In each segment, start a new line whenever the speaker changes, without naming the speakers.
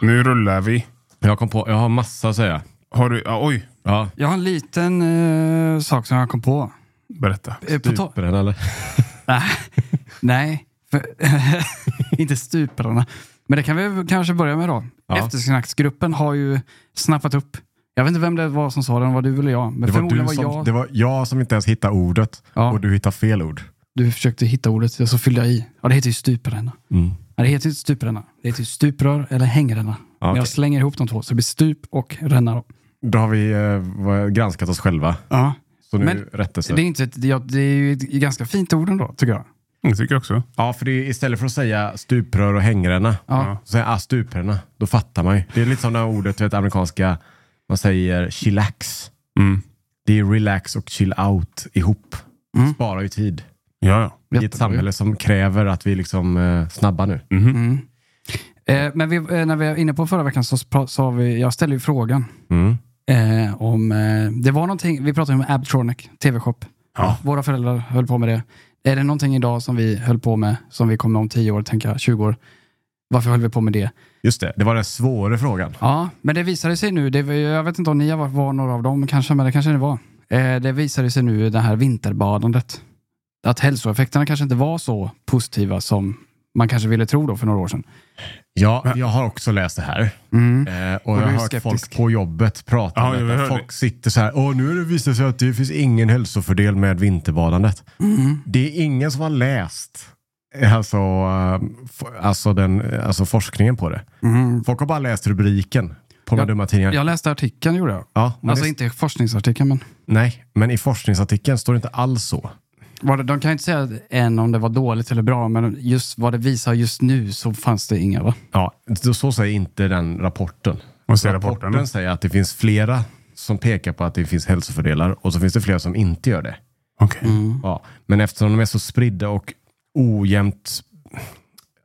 Nu rullar vi.
Jag kom på, jag har massa att säga.
Har du, ja, oj,
Ja,
Jag har en liten eh, sak som jag kom på.
berätta.
Eh, på tal-
den eller?
Nej, nej för, inte stuprarna. Men det kan vi kanske börja med då.
Ja.
Eftersnacksgruppen har ju snappat upp. Jag vet inte vem det var som sa det, om det var du eller jag. Men
Det var,
förmodligen
du
var
som,
jag.
det var jag som inte ens hittade ordet
Ja.
och du hittade fel ord.
Du försökte hitta ordet, och så fyllde jag i. Ja, det heter ju stupränna.
Mm.
Nej, det heter inte stupränna. Det heter ju stuprör eller hängränna. Men
okej.
jag slänger ihop de två, så det blir stup och ränna. Då.
Då har vi eh, var- granskat oss själva.
Ja.
Så nu
Men-
rättelse.
Det är, inte ett, ja, det är ju ett ganska fint ord ändå, tycker jag.
Jag tycker jag också.
Ja, för det är, istället för att säga stuprör och hängränna,
Ja.
så säger jag ah, stupränna. Då fattar man ju. Det är lite som det här ordet, du vet amerikanska, man säger chillax.
Mm.
Det är relax och chill out ihop. Sparar ju tid
Ja, Mm. ja.
i
Jättebra.
ett samhälle som kräver att vi liksom eh, snabba nu.
Mhm.
Mm. Eh, men vi, eh, när vi var inne på förra veckan så spra- sa vi, jag ställde ju frågan
Mm.
eh, om, eh, det var någonting, vi pratade om Abtronic, TV-shop.
Ja.
Våra föräldrar höll på med det. Är det någonting idag som vi höll på med, som vi kommer om 10 år, tänka 20 år? Varför höll vi på med det?
Just det, det var den svåra frågan.
Ja, men det visade sig nu, det, var- jag vet inte om ni har varit- var några av dem kanske, men det kanske ni var. Eh, det visade sig nu det här vinterbadandet. Att hälsoeffekterna kanske inte var så positiva som man kanske ville tro då för några år sedan.
Ja, jag har också läst det här. Eh, och,
Och
jag
du
har
är
hört folk
skeptisk.
på jobbet prata
Ja,
om
jag
detta.
hörde.
Folk sitter så här, Åh, nu har det visat sig att det finns ingen hälsofördel med vinterbadandet.
Mm.
Det är ingen som har läst eh, alltså, eh, f- alltså, den, eh, alltså forskningen på det. Folk har bara läst rubriken på de
Mm. Ja,
dumma tidningarna.
Jag läste artikeln gjorde jag.
Ja, men
alltså
det,
inte forskningsartikeln, men
Nej, men i forskningsartikeln står det inte alls så.
var det, de kan ju inte säga än om det var dåligt eller bra, men just vad det visar just nu så fanns det inga va?
Ja, så- så säger inte den rapporten.
Vad säger
rapporten?
rapporten?
säger att det finns flera som pekar på att det finns hälsofördelar och så finns det flera som inte gör det.
Okej.
Ja, men eftersom de är så spridda och ojämnt,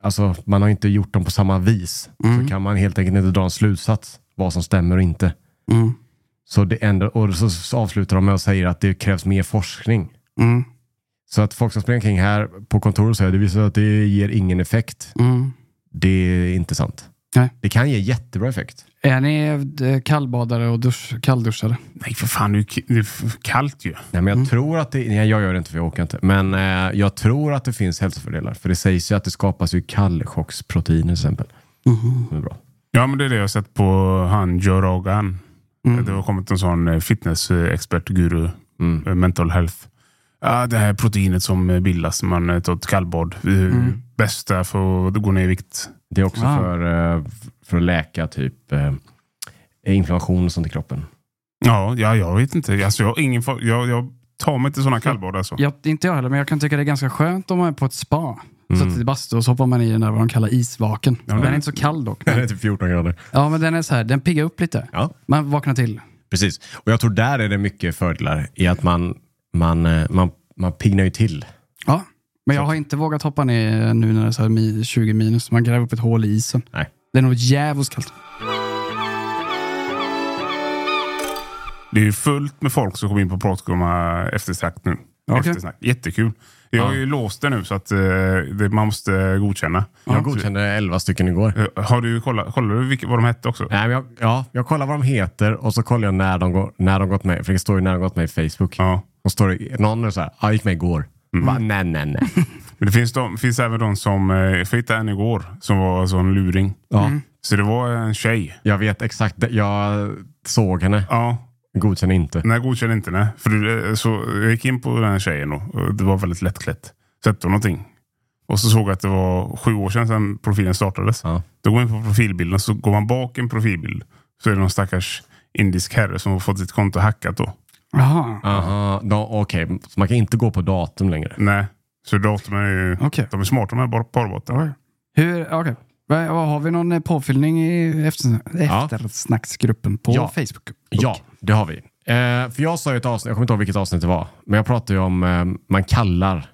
alltså man har inte gjort dem på samma vis, så kan man helt enkelt inte dra en slutsats vad som stämmer och inte.
Mm.
Så det ändå, och så så avslutar de med att säga att det krävs mer forskning.
Mm.
Så att folk som springer kring här på kontoret säger att det visar att det ger ingen effekt.
Mm.
Det är inte sant.
Nej.
Det kan ge jättebra effekt.
Är ni eh, kallbadare och dusch, kallduschare?
Nej, för fan. Det är ju k- det är f- kallt ju.
Nej, men jag tror att det, nej, jag gör det inte för jag orkar inte, men eh, jag tror att det finns hälsofördelar. För det sägs ju att det skapas ju kallchocksproteiner till exempel.
Mm-hmm,
Som är bra.
Ja, men det är det jag har sett på han Joe Rogan.
mm.
Det har kommit en sån eh, fitnessexpert, guru,
Mm.
eh, mental health. Ja, det här proteinet som eh, bildas när man eh, tar ett kallbad. eh, Bästa för att gå ner i vikt.
Det är också
Ah.
för, eh, för att läka typ eh, inflammation och sånt i kroppen.
Ja, ja jag vet inte. Alltså, jag, har ingen, fa- jag, jag tar mig till såna kallbad alltså.
Jag, inte jag heller, men jag kan tycka det är ganska skönt om man är på ett spa. Så att i bastu och så hoppar man i den där vad de kallar isvaken. den är inte så kall dock.
Det är typ 14 grader.
Ja, men den är så här, den piggar upp lite.
Ja.
Man vaknar till.
Precis. Och jag tror där är det mycket fördelar i att man, man, eh, man, man piggnar ju till.
Ja, men jag har inte vågat hoppa ner nu när det är så här mi- 20 minus. Man gräver upp ett hål i isen.
Nej.
Det är nog djävulskt kallt.
Det är ju fullt med folk som kommer in på Pratgumma eftersnack nu.
Okej.
Eftersnack. Jättekul. Jag har ju låst det nu så att eh, det, man måste eh, godkänna.
Jag godkände 11 stycken igår.
Eh, Har du kollat, kollar du vilka, vad de hette också?
Nej, men jag, ja, jag kollar vad de heter och så kollar jag när de, går, när de gått med. För det står ju när de gått med i Facebook.
Ja.
Och står det, någon är så här, ja, jag gick med igår.
Mm.
Va? Nej, nej, nej.
Men det finns, de, finns även de som, eh, för jag hittade en igår, som var sån luring.
Ja,
Mm.
Så det var en tjej.
Jag vet exakt, det. jag såg henne.
Ja,
Godkänner inte.
nej godkände inte nej. För det- eh, så jag gick in på den här tjejen då, och det var väldigt lättklätt. Sätter hon någonting. Och så såg jag att det var sju år sedan, sedan profilen startades.
Ja.
Då går man in på profilbilden så går man bak en profilbild. Så är det någon stackars indisk herre som har fått sitt konto hackat då.
Jaha,
Aha, då, okej. Så man kan inte gå på datum längre.
Nej, så datorn är ju...
okej.
De är smarta de här bar- parbotten.
Hur, okej. Va- va- Har vi någon eh, påfyllning i efter,
Ja.
eftersnacksgruppen på
Ja.
Facebook?
Ja, det har vi. Eh, för jag sa ju ett avsnitt, jag kommer inte ihåg vilket avsnitt det var, men jag pratade ju om eh, man kallar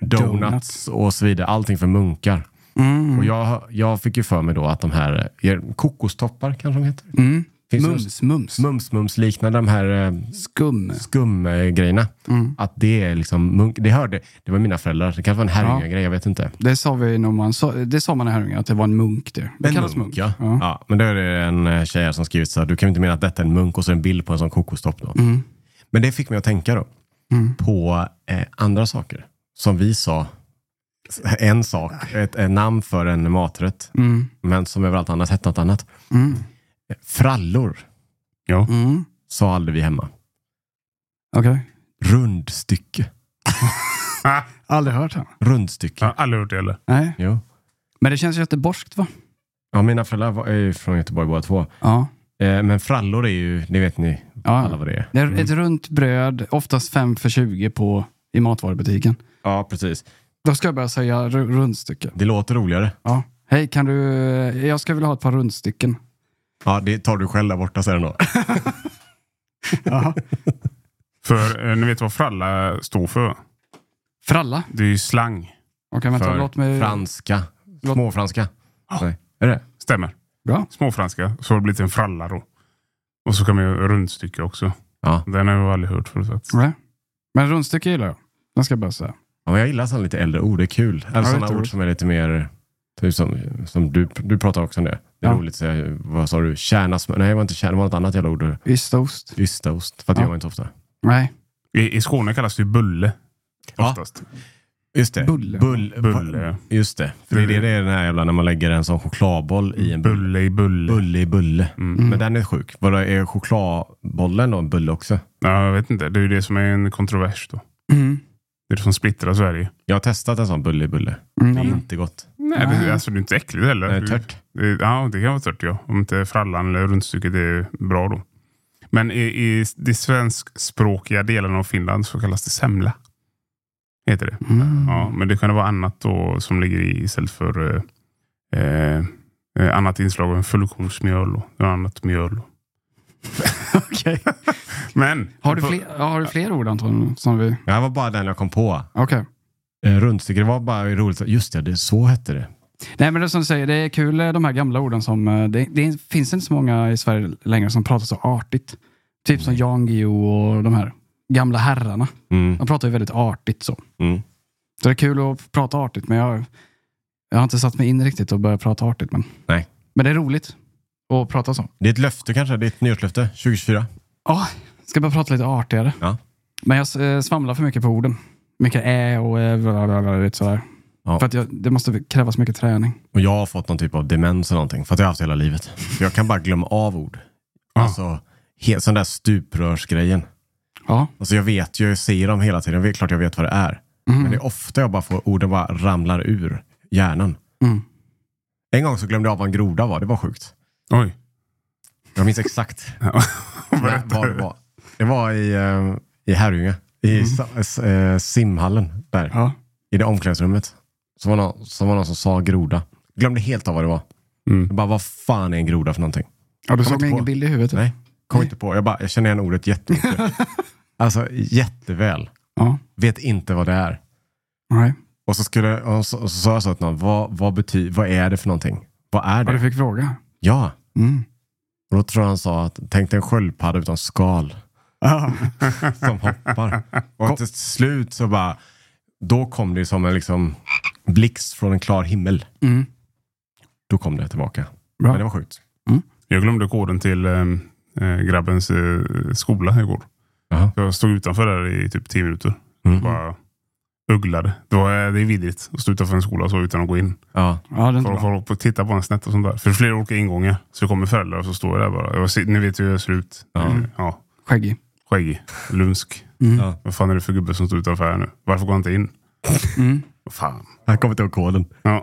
donuts,
Donuts.
och så vidare, allting för munkar.
Mm.
Och jag, jag fick ju för mig då att de här eh, kokostoppar kanske de heter.
Mm.
Finns det
Mums, mums.
Mums, mums liknande de här eh,
Skum.
skumgrejerna.
Mm.
Att det är liksom munk. Det hörde, det var mina föräldrar. Det kanske var en Herrljunga-grej, jag vet inte.
Det sa, vi när man sa, det sa man i Herrljunga, att det var en munk det. Det
En
kallas munk.
munk, ja. ja. Men då är det en eh, tjej här som skrivit så här, du kan ju inte mena att detta är en munk och så en bild på en sån kokostopp då.
Mm.
Men det fick mig att tänka då
Mm.
på eh, andra saker som vi sa. En sak, ett, ett namn för en maträtt,
Mm.
men som överallt annat hette något annat.
Mm.
Frallor
Ja.
Mm.
sa aldrig vi hemma.
Okej.
Rundstycke.
Aldrig hört henne.
Rundstycke.
Jag har aldrig hört det heller.
Nej.
Jo.
Men det känns göteborgskt va?
Ja, mina föräldrar var- är ju från Göteborg båda två.
Ja.
Eh, men frallor är ju, det vet ni alla
ja.
vad det är.
Det är ett runt bröd, oftast 5 för 20 på, i matvarubutiken.
Ja, precis.
Då ska jag börja säga ru- rundstycke.
Det låter roligare.
Ja. Hej, kan du... Jag skulle vilja ha ett par rundstycken.
Ja, det tar du själv där borta sen då.
Ja.
För eh, ni vet vad fralla står för?
Fralla.
Det är ju slang.
Okej, vänta.
För
låt mig...
Franska.
Låt-
Småfranska.
Ja.
Nej. Är det?
Stämmer.
Bra.
Småfranska. Så har det blivit en fralla då. Och så kan man ju rundstycke också.
Ja.
Den har jag aldrig hört förut. faktiskt.
Nej. Men rundstycke gillar jag. Den ska jag börja säga.
Ja, men jag gillar sådana lite äldre ord. Det är kul. Eller sådana
lite
ord
roligt.
som är lite mer... Typ som, som du, du pratar också om det. Det är
Ja.
roligt att säga, vad sa du? Kärnasmör? Nej, det var inte kärna. Det var något annat jävla ord.
Ystaost.
Ystaost. För att det
Ja.
gör man inte ofta.
Nej.
I, I Skåne kallas det ju bulle.
Ja.
Oftast.
Just det.
Bulle.
Bull,
Bulle, ja.
Just det. För det är det det är den här jävla när man lägger en sån chokladboll i en bulle.
Bulle i bulle.
Bulle i bulle.
Mm.
Men den är sjuk. Vadå, är chokladbollen då en bulle också?
Ja, jag vet inte. Det är ju det som är en kontrovers då.
Mm.
Det är det som splittrar Sverige.
Jag har testat en sån bulle i bulle.
Mm.
Det är
ja, men-
inte gott.
Nej, det, är- alltså, det är inte äckligt heller.
Den är
Du-
tört.
Det, ja, det kan vara tört ja. Om inte frallan eller rundstycket är bra då. Men i, i de svenskspråkiga delarna av Finland så kallas det semla. Heter det.
Mm.
Ja, men det kan vara annat då som ligger i istället för eh, eh, eh, annat inslag av fullkornsmjöl och något annat mjöl. och-
Okej.
Men
Har, du fler, ja, har du fler ord Anton? Som vi...
Det här var bara den jag kom på.
Okej.
Eh, Rundstycke, det var bara roligt. Just det, det så hette det.
Nej, men det är som du säger, det är kul eh, de här gamla orden som... eh, Det, det finns inte så många i Sverige längre som pratar så artigt. Typ som Jan Guillou och de här gamla herrarna.
Mm.
De pratar ju väldigt artigt så.
Mm.
Så det är kul att prata artigt, men jag, jag har inte satt mig in riktigt och börjat prata artigt. Men,
Nej.
men det är roligt att prata så.
Det är ett löfte kanske. Det är ett nyårslöfte. 2024.
Ja, ska bara prata lite artigare.
Ja.
Men jag eh, svamlar för mycket på orden. Mycket ä och eh, bla, bla, bla, lite sådär.
Ja.
För att jag, det måste krävas mycket träning.
Och jag har fått någon typ av demens eller någonting. För att jag har haft hela livet. För jag kan bara glömma av ord.
Ja.
Alltså, he- sån där stuprörsgrejen.
Ja.
Alltså jag vet ju, jag ser dem hela tiden. Det är klart jag vet vad det är. Men det är ofta jag bara får orden bara ramlar ur hjärnan.
Mm.
En gång så glömde jag av vad en groda var. Det var sjukt.
Oj.
Jag minns exakt. vad
Berätta.
det var. Det var i, eh, i Herrljunga. I sa- s- eh, simhallen där.
Ja.
I det omklädningsrummet. Så var, någon, så var någon som sa groda. Glömde helt av vad det var.
Mm.
Jag bara, vad fan är en groda för någonting?
ja, du såg
inte
mig
på.
ingen bild i huvudet.
Nej, kom inte på. Jag, bara, jag känner igen ordet jättemycket. alltså jätteväl.
Ja.
Vet inte vad det är.
Nej.
Och så, skulle, och så, och så sa jag så till någon, vad, vad, bety, vad är det för någonting? Vad är
Ja, du
det?
fick fråga.
Ja.
Mm.
Och då tror jag han sa att, tänk dig en sköldpadda utan skal.
Ja.
som hoppar. Och till slut så bara, då kom det som en liksom blixt från en klar himmel.
Mm.
Då kom det tillbaka.
Bra.
Men det var sjukt.
Jag glömde koden till eh, eh, grabbens eh, skola igår.
Jaha.
Jag stod utanför där i typ tio minuter.
Mm.
Bara ugglade. Det, var, eh, det är vidrigt att stå utanför en skola så utan att gå in.
Ja.
ja, det är inte
Folk
bra.
håller på att titta på en snett och sånt där. För det är flera olika ingångar. Så kommer föräldrar och så står jag där bara. Jag ser, ni vet ju hur jag ser ut.
Ja.
Eh, ja.
Skäggig.
Skäggig. Lumsk.
Mm.
Ja.
Vad fan är det för gubbe som står utanför här nu? Varför går han inte in?
Mm.
Vad fan.
Han kommer inte ihåg koden.
Ja.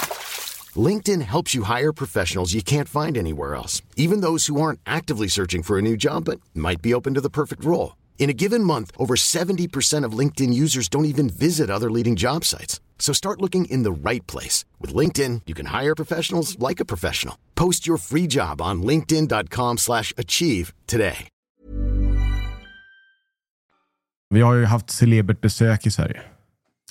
LinkedIn helps you hire professionals you can't find anywhere else, even those who aren't actively searching for a new job but might be open to the perfect role. In a given month, over 70% of LinkedIn users don't even visit other leading job sites. So start looking in the right place. With LinkedIn, you can hire professionals like a professional. Post your free job on linkedin.com/achieve slash achieve today.
Vi har ju haft celebert besök i Sverige.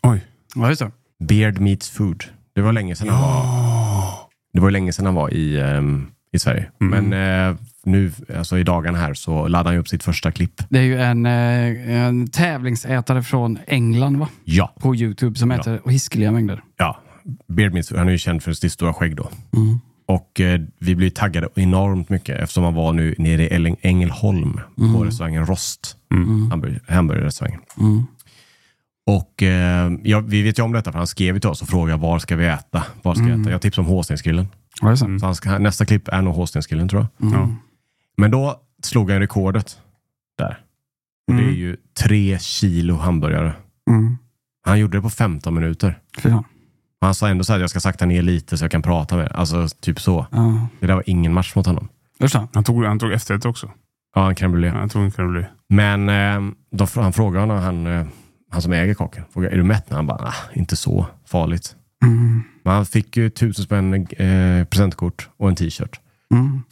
Oj.
Ja, just det.
Beard meets food. Det var länge sedan han var, det var ju länge sedan han var i, ehm, i Sverige. Men eh, nu, alltså i dagarna här, så laddade han ju upp sitt första klipp.
Det är ju en, eh, en tävlingsätare från England va?
Ja.
på Youtube som äter hiskeliga mängder.
ja. Beard meets food. Han är ju känd för sitt stora skägg då. Och eh, vi blev ju taggade enormt mycket eftersom han var nu nere i Elling- Ängelholm på restaurangen Rost. Hamburg- Hamburgerrestaurangen.
Mm.
Och eh, ja, vi vet ju om detta för han skrev ju till oss och frågade var ska vi äta? Var ska vi äta? Jag tipsade om Håstensgrillen.
Ja, just det.
Så han ska, nästa klipp är nog Håstensgrillen tror jag. Men då slog han rekordet där. Och det är ju tre kilo hamburgare.
Mm.
Han gjorde det på 15 minuter.
Fy fan.
Och Han sa ändå så här, jag ska sakta ner lite så jag kan prata med dig. Alltså typ så.
Ja.
Det där var ingen match mot honom.
Just det.
Han tog, han tog efterrätt också.
Ja, han kan bli
Ja, Han tog en crème brûlée.
Men eh, då, fr- han frågade honom, han, eh, han som äger kocken, frågade, är du mätt? Han bara, nah, inte så farligt.
Mm.
Men han fick ju tusen spänn eh, presentkort och en t-shirt.
Mm.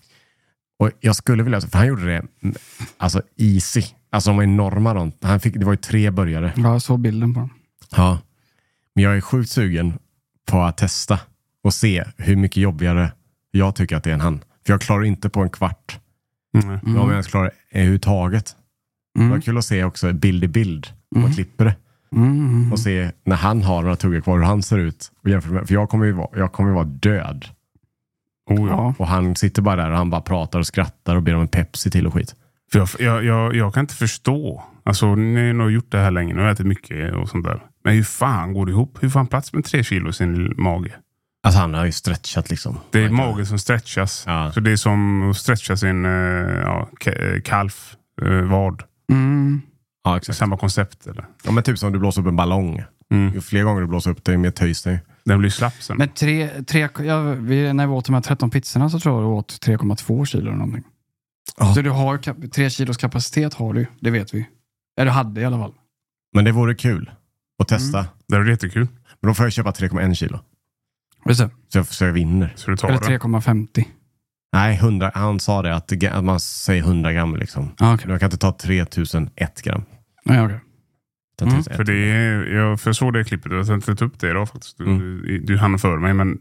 Och jag skulle vilja, för han gjorde det mm, alltså easy. Alltså de var enorma. De. Han fick, det var ju tre börjare.
Ja, jag såg bilden på den.
Ja. Men jag är sjukt sugen på att testa och se hur mycket jobbigare jag tycker att det är än han. För jag klarar inte på en kvart.
Nej.
Om jag ens klarar överhuvudtaget. Det var kul att se också bild i bild. Om man klipper det. Och se när han har några tuggar kvar hur han ser ut. Och jämför med, för jag kommer ju vara, jag kommer ju vara död.
Oh, ja.
Ja.
Och han sitter bara där och han bara pratar och skrattar och ber om en Pepsi till och skit.
För jag, jag, jag, jag kan inte förstå. Alltså, ni har nog gjort det här länge. Ni har ätit mycket och sånt där. Men hur fan går det ihop? Hur fan plats med tre kilo i sin mage?
Alltså han har ju stretchat liksom.
Det är
Han kan-
magen som stretchas.
Ja.
Så det är som att stretcha sin eh, ja, ka- eh, kalf, eh, vad.
Mm.
Ja, exakt.
Samma koncept. Eller? Mm.
Ja, men typ som du blåser upp en ballong. Ju fler gånger du blåser upp det, ju mer töjs det är.
Den blir slapp sen.
Men tre, tre, ja, vi, när vi åt de här 13 pizzorna så tror jag du åt 3,2 kilo eller någonting.
Ja.
Så du har kap- tre kilos kapacitet har du, det vet vi. Eller hade i alla fall.
Men det vore kul att testa.
Det är jättekul.
Men då får jag köpa 3,1 kilo.
Just det.
Så jag, så jag vinner.
Så du tar
Eller
den.
3,50.
Nej, 100, han sa det att, ga- att man säger 100 gram liksom.
Ja, okej.
Jag kan inte ta 3001 gram.
Ja, okej.
Utan
Mm,
3001.
För det är, jag försåg det klippet, jag tänkte ta upp det idag faktiskt. Du, du, du hann för mig, men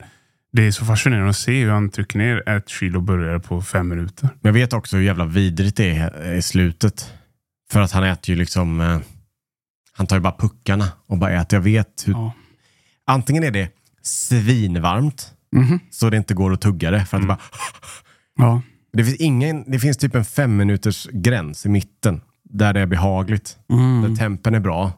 det är så fascinerande att se hur han trycker ner ett kilo burgare på fem minuter.
Men jag vet också hur jävla vidrigt det är i slutet. För att han äter ju liksom... eh, Han tar ju bara puckarna och bara äter. Jag vet hur...
Ja.
Antingen är det svinvarmt
Mhm.
så det inte går att tugga det. För att det bara...
Ja.
Det finns, ingen, det finns typ en fem minuters gräns i mitten där det är behagligt. Där tempen är bra.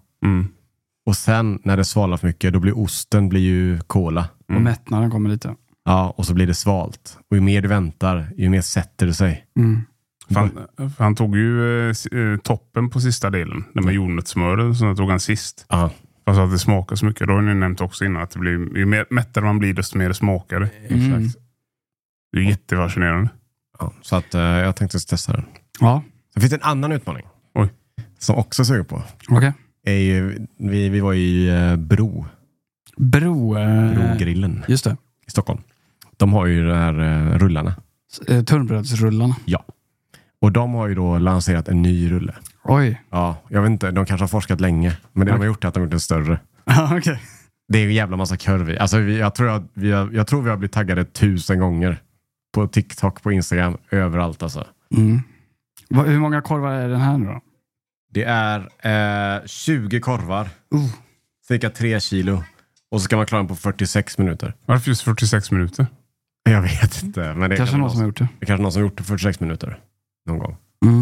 Och sen när det svalar för mycket, då blir osten blir ju kola.
Och mättnaden kommer lite.
Ja, och så blir det svalt. Och ju mer du väntar, ju mer sätter det sig.
Mm.
För han, för han tog ju eh, s- eh, toppen på sista delen, den med jordnötssmöret, så den tog han sist.
Ja.
Fast att det smakar så mycket. Då har ni nämnt också innan att det blir, ju mer mättare man blir, desto mer smakar det.
Mm.
Mm.
Exakt.
Det är jättefascinerande.
Ja, så att, eh, jag tänkte testa den.
Ja,
Sen finns det en annan utmaning.
Oj.
Som också suger på.
okej.
Är ju, vi, vi var i eh, Bro,
Bro... Eh,
Brogrillen
Just det.
i Stockholm. De har ju de här eh, rullarna.
S- Eh, tunnbrödsrullarna.
Ja. Och de har ju då lanserat en ny rulle.
Oj.
Ja, jag vet inte, de kanske har forskat länge. Men det de har gjort är att de har gjort en större.
Ja, okej.
Det är ju en jävla massa kurv i. Alltså, vi, jag, tror att vi har, jag tror vi har blivit taggade tusen gånger. På TikTok, på Instagram, överallt alltså.
Mm. Va- Hur många korvar är den här nu då?
Det är eh, 20 korvar,
Uh.
cirka 3 kilo. Och så ska man klara den på 46 minuter.
Varför just 46 minuter?
Jag vet inte. Men det
Kanske
kan
någon
vara
som har gjort det.
Det är kanske någon som gjort det 46 minuter. Någon gång.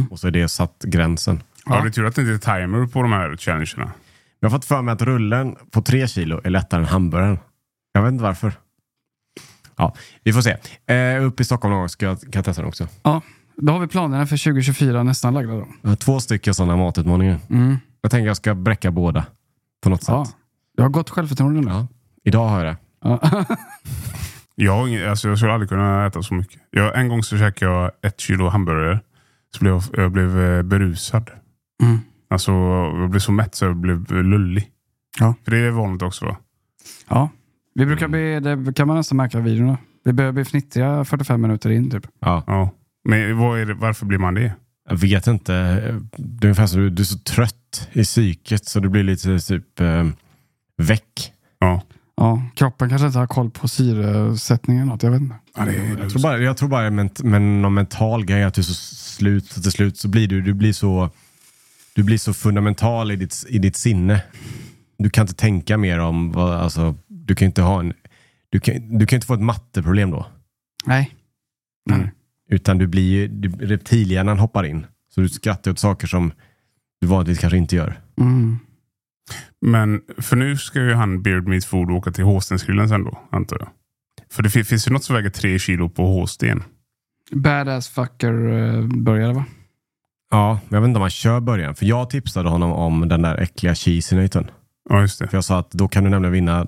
Och så är det satt gränsen.
Ja, det är tur att det inte är timer på de här challengerna.
Jag har fått för mig att rullen på tre kilo är lättare än hamburgaren. Jag vet inte varför. Ja, vi får se. Eh, upp i Stockholm någon gång ska jag, kan jag testa den också.
Ja, då har vi planerna för 2024 nästan lagda då.
Jag har två stycken sådana matutmaningar.
Mm.
Jag tänker jag ska bräcka båda på något sätt.
Ja. Du har gott självförtroende nu.
Ja. Idag har jag det.
Ja.
Jag, har ingen, alltså, jag skulle aldrig kunna äta så mycket. Jag, en gång så käkade jag ett kilo hamburgare. Så blev jag, jag blev eh, berusad.
Mm.
Alltså, jag blev så mätt så jag blev eh, lullig.
Ja.
För det är vanligt också va?
ja. Vi brukar bli, det kan man nästan märka i videorna. Vi börjar bli fnittriga 45 minuter in typ.
Ja.
Ja. Men vad är det, varför blir man det?
Jag vet inte. Det är ungefär så, du är så trött i psyket så du blir lite typ eh, väck.
Ja.
Ja, kroppen kanske inte har koll på syresättningen eller något, jag vet inte.
Ja, det är,
Jag tror bara, jag tror bara det är ment, men någon mental grej att du är så slut, så till slut så blir du, du blir så, du blir så fundamental i ditt, i ditt sinne. Du kan inte tänka mer om, vad, alltså, du kan inte ha en, du kan, du kan inte få ett matteproblem då.
Nej.
Utan du blir ju, du- reptilhjärnan hoppar in. Så du skrattar åt saker som du vanligtvis kanske inte gör.
Mm.
Men för nu ska ju han Beard Meat Food åka till Håstensgrillen sen då, antar jag. För det fin- finns ju något som väger tre kilo på Håsten.
Badass fucker eh, började va?
Ja, men jag vet inte om man kör början. För jag tipsade honom om den där äckliga cheesenöten.
Ja, just det.
För jag sa att då kan du nämligen vinna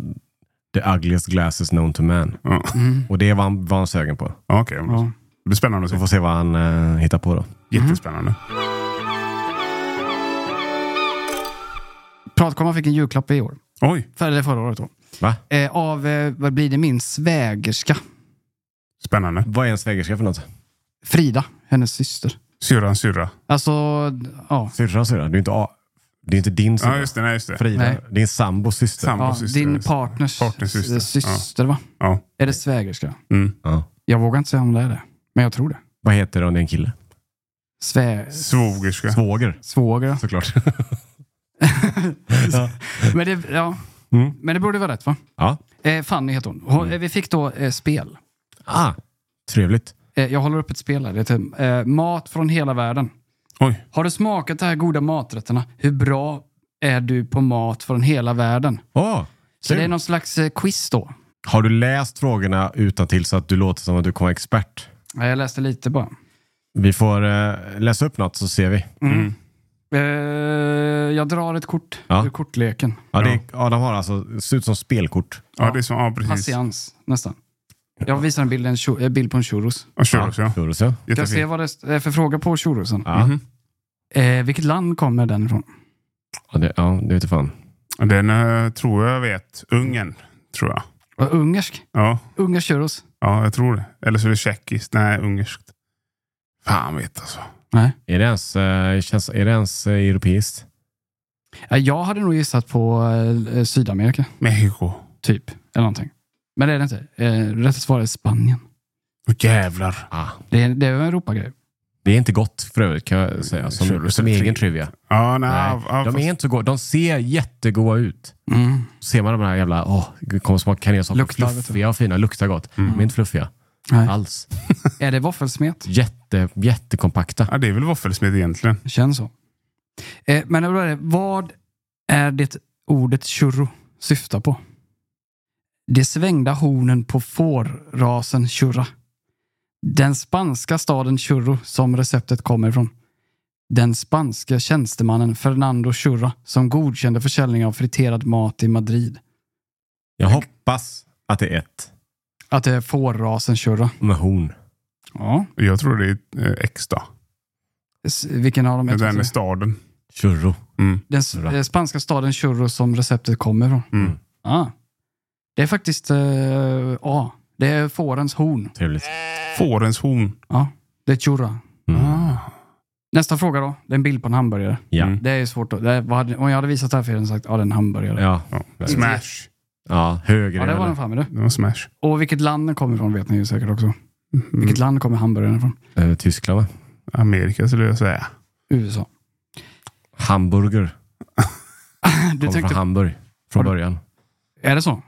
the ugliest glasses known to man.
Ja.
Och det var han, var han sögen på.
Ja, Okej,
Ja.
det blir spännande att
Vi
se.
får se vad han eh, hittar på då.
Jättespännande.
Pratkomma fick en julklapp i år.
Oj,
För, eller förra året då.
Va?
Eh, av, eh, vad blir det, min svägerska.
spännande.
Vad är en svägerska för något?
Frida, hennes syster.
Syrran syrra.
Alltså, ja.
Syrran syrra? Det är inte, A- det är inte din
Ja,
syrra.
just det. Nej, just det.
Frida.
Nej.
Din sambos syster.
Sambo
ja
syster.
din partners,
Partners syster.
syster, syster va?
Ja.
Är det svägerska?
Mm.
Ja.
Jag vågar inte säga om det är det. Men jag tror det.
Vad heter det om det är en kille?
Svä...
Svogerska.
Svåger.
Svåger.
Såklart.
Men det, ja.
Mm.
Men det borde vara rätt va?
ja.
Eh, Fanny heter hon. hon eh, Vi fick då eh, spel.
Ah, trevligt.
Eh, jag håller upp ett spel här. Det heter eh, Mat från hela världen.
Oj.
Har du smakat de här goda maträtterna? Hur bra är du på mat från hela världen?
Åh,
Så det är
kul.
någon slags eh, quiz då.
Har du läst frågorna utan till så att du låter som att du kommer vara expert?
Ja, Jag läste lite bara.
Vi får eh, läsa upp något så ser vi.
Eh, jag drar ett kort
Ja.
ur kortleken.
Ja, det, ja, de har alltså, det ser ut som spelkort.
Ja, det är som, ja precis.
Patiens, nästan. Jag visar en bild, en chu- eh, bild på en churros.
Ja, churros, ja.
Hur så?
Ska jag se
Jättefint.
vad det är för fråga på churrosen?
Ja.
Eh, vilket land kommer den ifrån?
Ja, det, ja, det vete fan.
Den eh, tror jag vet. Ungern, tror jag.
Vad, Ungersk?
Ja,
Ungersk churros?
ja jag tror det. Eller så är det tjeckiskt. Nej, ungerskt. Fan vet alltså.
Nej.
Är det ens, eh, känns, är det ens eh, europeiskt?
Eh, Jag hade nog gissat på eh, Sydamerika,
Mexiko.
typ. Eller någonting. Men det är det inte. Eh, rätt svar är Spanien.
Åh jävlar.
Ah.
Det är, det är en Europagrej.
Det är inte gott för övrigt kan jag säga, som,
Churros
som
är
egen
fint.
trivia.
Ja, nej.
Nej,
ja,
de
fast-
är inte så goda. De ser jättegoda ut.
Mm.
Ser man de här jävla, åh, gud, kommer smaka kanelsoppa.
Luktar, vet du.
Fluffiga och fina, luktar gott. De är inte fluffiga
Nej.
alls.
Är det våffelsmet?
Jätte, jättekompakta.
Ja, det är väl våffelsmet egentligen.
Det känns så. Eh, men då är det, vad är det ordet churro syftar på? De svängda hornen på fårrasen churra. Den spanska staden Churro som receptet kommer ifrån. Den spanske tjänstemannen Fernando Churra som godkände försäljning av friterad mat i Madrid.
Jag hoppas att det är ett
Att det är fårrasen churra.
med horn.
Ja.
Jag tror det är eh, X då.
S- Vilken av dem? Jag tror
Den är
inte-
staden.
Churro.
Mm.
Den s- eh, spanska staden Churro som receptet kommer ifrån.
Mm.
Ah. Det är faktiskt eh, A. det är fårens horn.
Trevligt.
Fårens horn.
Ja, det är churra.
Mm.
Ah,
Nästa fråga då. Det är en bild på en hamburgare.
Ja.
Mm.
Det är ju svårt. Att, det är, vad hade, om jag hade visat det här för er hade ni sagt ja, det är en hamburgare. Ja,
Ja.
Ja. Smash.
ja, högre.
det var
eller?
den fan med du.
Det var smash.
Och vilket land den kommer ifrån vet ni ju säkert också. Vilket land kommer hamburgaren ifrån?
Eh, Tyskland va?
Amerika skulle jag säga.
USA.
Hamburger.
Du
Kommer från
tänkte,
Hamburg. Från början.
är det så?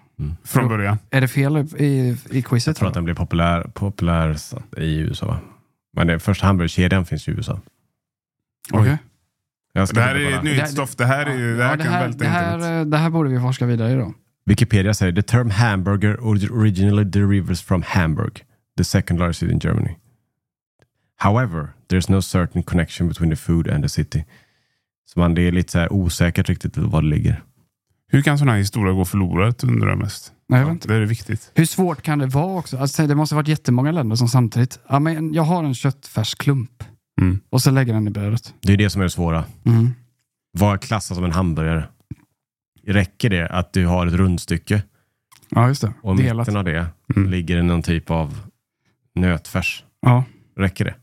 Från början.
Är det fel i, i, i
Jag
quizet?
tror att
då?
den blev populär, populär i USA va? Men det, första hamburgerkedjan finns i USA.
Okej.
Oj.
Jag
Det
skriver
här är
bara.
ett nyhetsstoff. Det här, är, ju- det här
Ja,
kan välta
det,
internet.
här, eh, det här borde vi forska vidare i då.
Wikipedia säger the term hamburger or- originally derives from Hamburg, the second largest city in Germany. However, there's no certain connection between the food and the city. Så man, det är lite så här osäkert riktigt var det ligger.
Hur kan sådana här historier gå förlorat undrar jag mest.
Nej, jag vet inte.
Det är viktigt.
Hur svårt kan det vara också? Alltså, det måste ha varit jättemånga länder som samtidigt, ja, men jag har en köttfärsklump
Mm.
och så lägger den i brödet.
Det är det som är det svåra.
Mm.
Vad klassas som en hamburgare? Räcker det att du har ett rundstycke
Ja, just det.
och i
Delat.
mitten av det
Mm.
ligger det någon typ av nötfärs?
Ja.
Räcker det?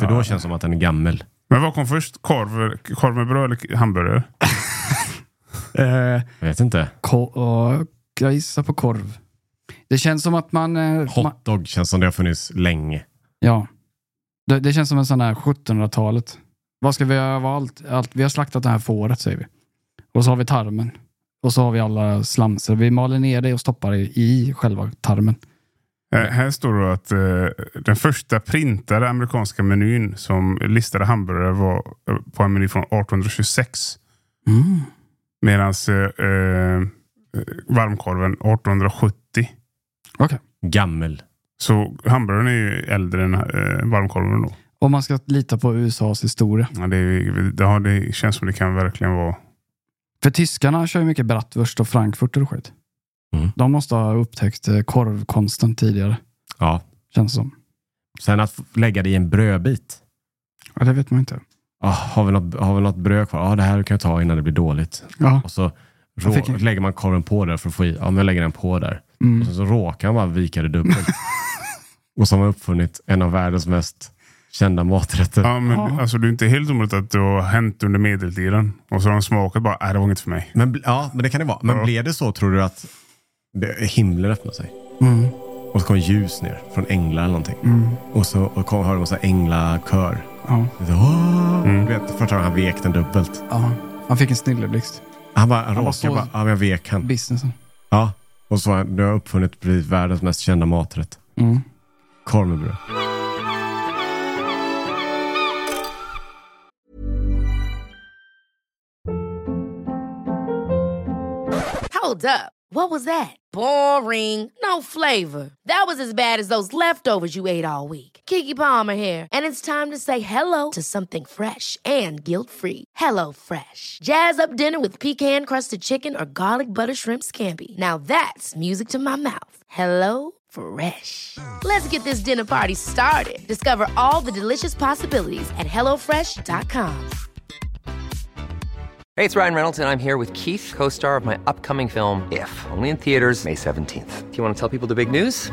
För då
Ja.
känns det som att den är gammal.
Men vad kom först? Korv, korv med bröd eller hamburgare?
Eh,
Jag vet inte.
ko- och, jag gissar på korv. Det känns som att man... eh, man
Hotdog känns som det har funnits länge.
ja. Det, det känns som en sån här 1700-talet. Vad ska vi göra av allt, allt? Vi har slaktat det här fåret, säger vi. Och så har vi tarmen. Och så har vi alla slamser. Vi maler ner det och stoppar det i själva tarmen.
Eh, Här står det att eh, den första printade amerikanska menyn som listade hamburgare var eh, på en meny från 1826.
Mm.
Medan eh, eh, varmkorven 1870.
Gammel.
Så hamburgaren är ju äldre än eh, varmkorven då.
Om man ska lita på USAs historia.
Ja, det, är- det, har- det känns som det kan verkligen vara...
För tyskarna kör ju mycket bratwurst och frankfurter och skit.
Mm.
De måste ha upptäckt eh, korvkonsten tidigare,
Ja.
känns som.
Sen att f- lägga det i en brödbit.
Ja, det vet man inte.
Ah, har, vi något, har vi något bröd kvar? Ja, det här kan jag ta innan det blir dåligt.
Ja.
Och så
Jag fick
rå,
en-
lägger man korven på där för att få i. Ja, men jag lägger den på där.
Mm.
Och sen så råkar han bara vika det dubbelt. och så har man uppfunnit en av världens mest kända maträtter.
Ja, men
Ja.
Alltså, det är inte helt omöjligt att det har hänt under medeltiden. Och så har de smakat bara, nej det var inget för mig.
Men, bl- ja, men det kan det vara. Men
Ja.
blev det så, tror du, att det, himlen öppnade sig?
Mm.
Och så kom ljus ner från änglar eller någonting. Och så och kom, hörde man så här änglakör.
Ja.
Så, "Åh!" Du vet, första gången han vek den dubbelt.
ja. Han fick en snilleblixt.
Han bara han
var
råkade
så-
bara, ja men jag vek han.
Businessen.
Ja, och så har du har uppfunnit precis världens mest kända maträtt.
Mm.
Korv med bröd.
Hold up. What was that? Boring. No flavor. That was as bad as those leftovers you ate all week. Kiki Palmer here, and it's time to say hello to something fresh and guilt-free. Hello Fresh. Jazz up dinner with pecan-crusted chicken or garlic butter shrimp scampi. Now that's music to my mouth. Hello Fresh. Let's get this dinner party started. Discover all the delicious possibilities at hellofresh.com.
Hey, it's Ryan Reynolds, and I'm here with Keith, co star of my upcoming film, If, only in theaters, May 17th. Do you want to tell people the big news?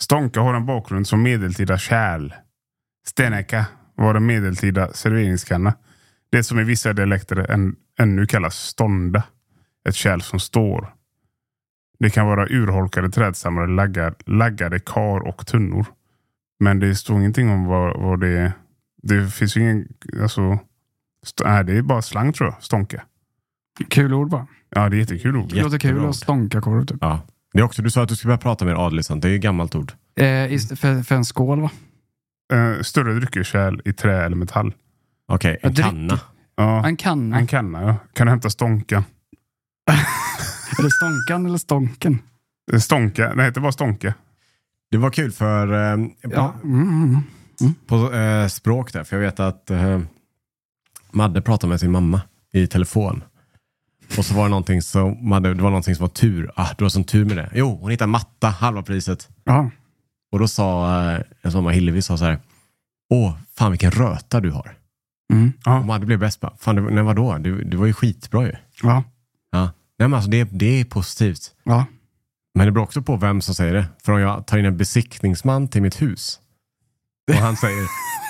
Stånka har en bakgrund som medeltida kärl. Stenäka var en medeltida serveringskanna. Det som i vissa dialekter än, ännu kallas stånda. Ett kärl som står. Det kan vara urholkade trädstammar, laggar, laggade kar och tunnor. Men det står ingenting om vad, vad det är. Det finns ju ingen... Alltså, st- nej, det är bara slang tror jag. Stånka.
Kul ord bara.
Ja, det är jättekul ord.
Det låter kul att stånka korv typ.
Ja. Det är också, du sa att du skulle börja prata mer adelisant. Det är ju ett gammalt ord.
Eh, ist- för, för en skål va?
Eh, större dryckeskärl i trä eller metall.
Okej,
Jag
en
dricker.
kanna.
Ja,
En kanna.
en kanna. Ja. Kan du hämta stånka?
Eller stånkan eller stånken.
Eh, Stånka? Det heter bara stånka.
Det var kul för eh,
Ja. Mm, mm, mm.
på, på eh, språk där, för jag vet att eh, Madde pratade med sin mamma i telefon. Och så var det någonting som, Madde, det var någonting som var tur. Ah, du har sån tur med det. Jo, hon hittade matta, halva priset.
ja.
Och då sa eh, en sån Hillevi sa så här. Åh, fan vilken röta du har.
Mm.
Och Madde blev bäst bara, fan det, nej, vadå? Du, du var ju skitbra ju.
Ja.
Ja. Nej men alltså det, det är positivt.
Ja.
Men det beror också på vem som säger det. För om jag tar in en besiktningsman till mitt hus och han säger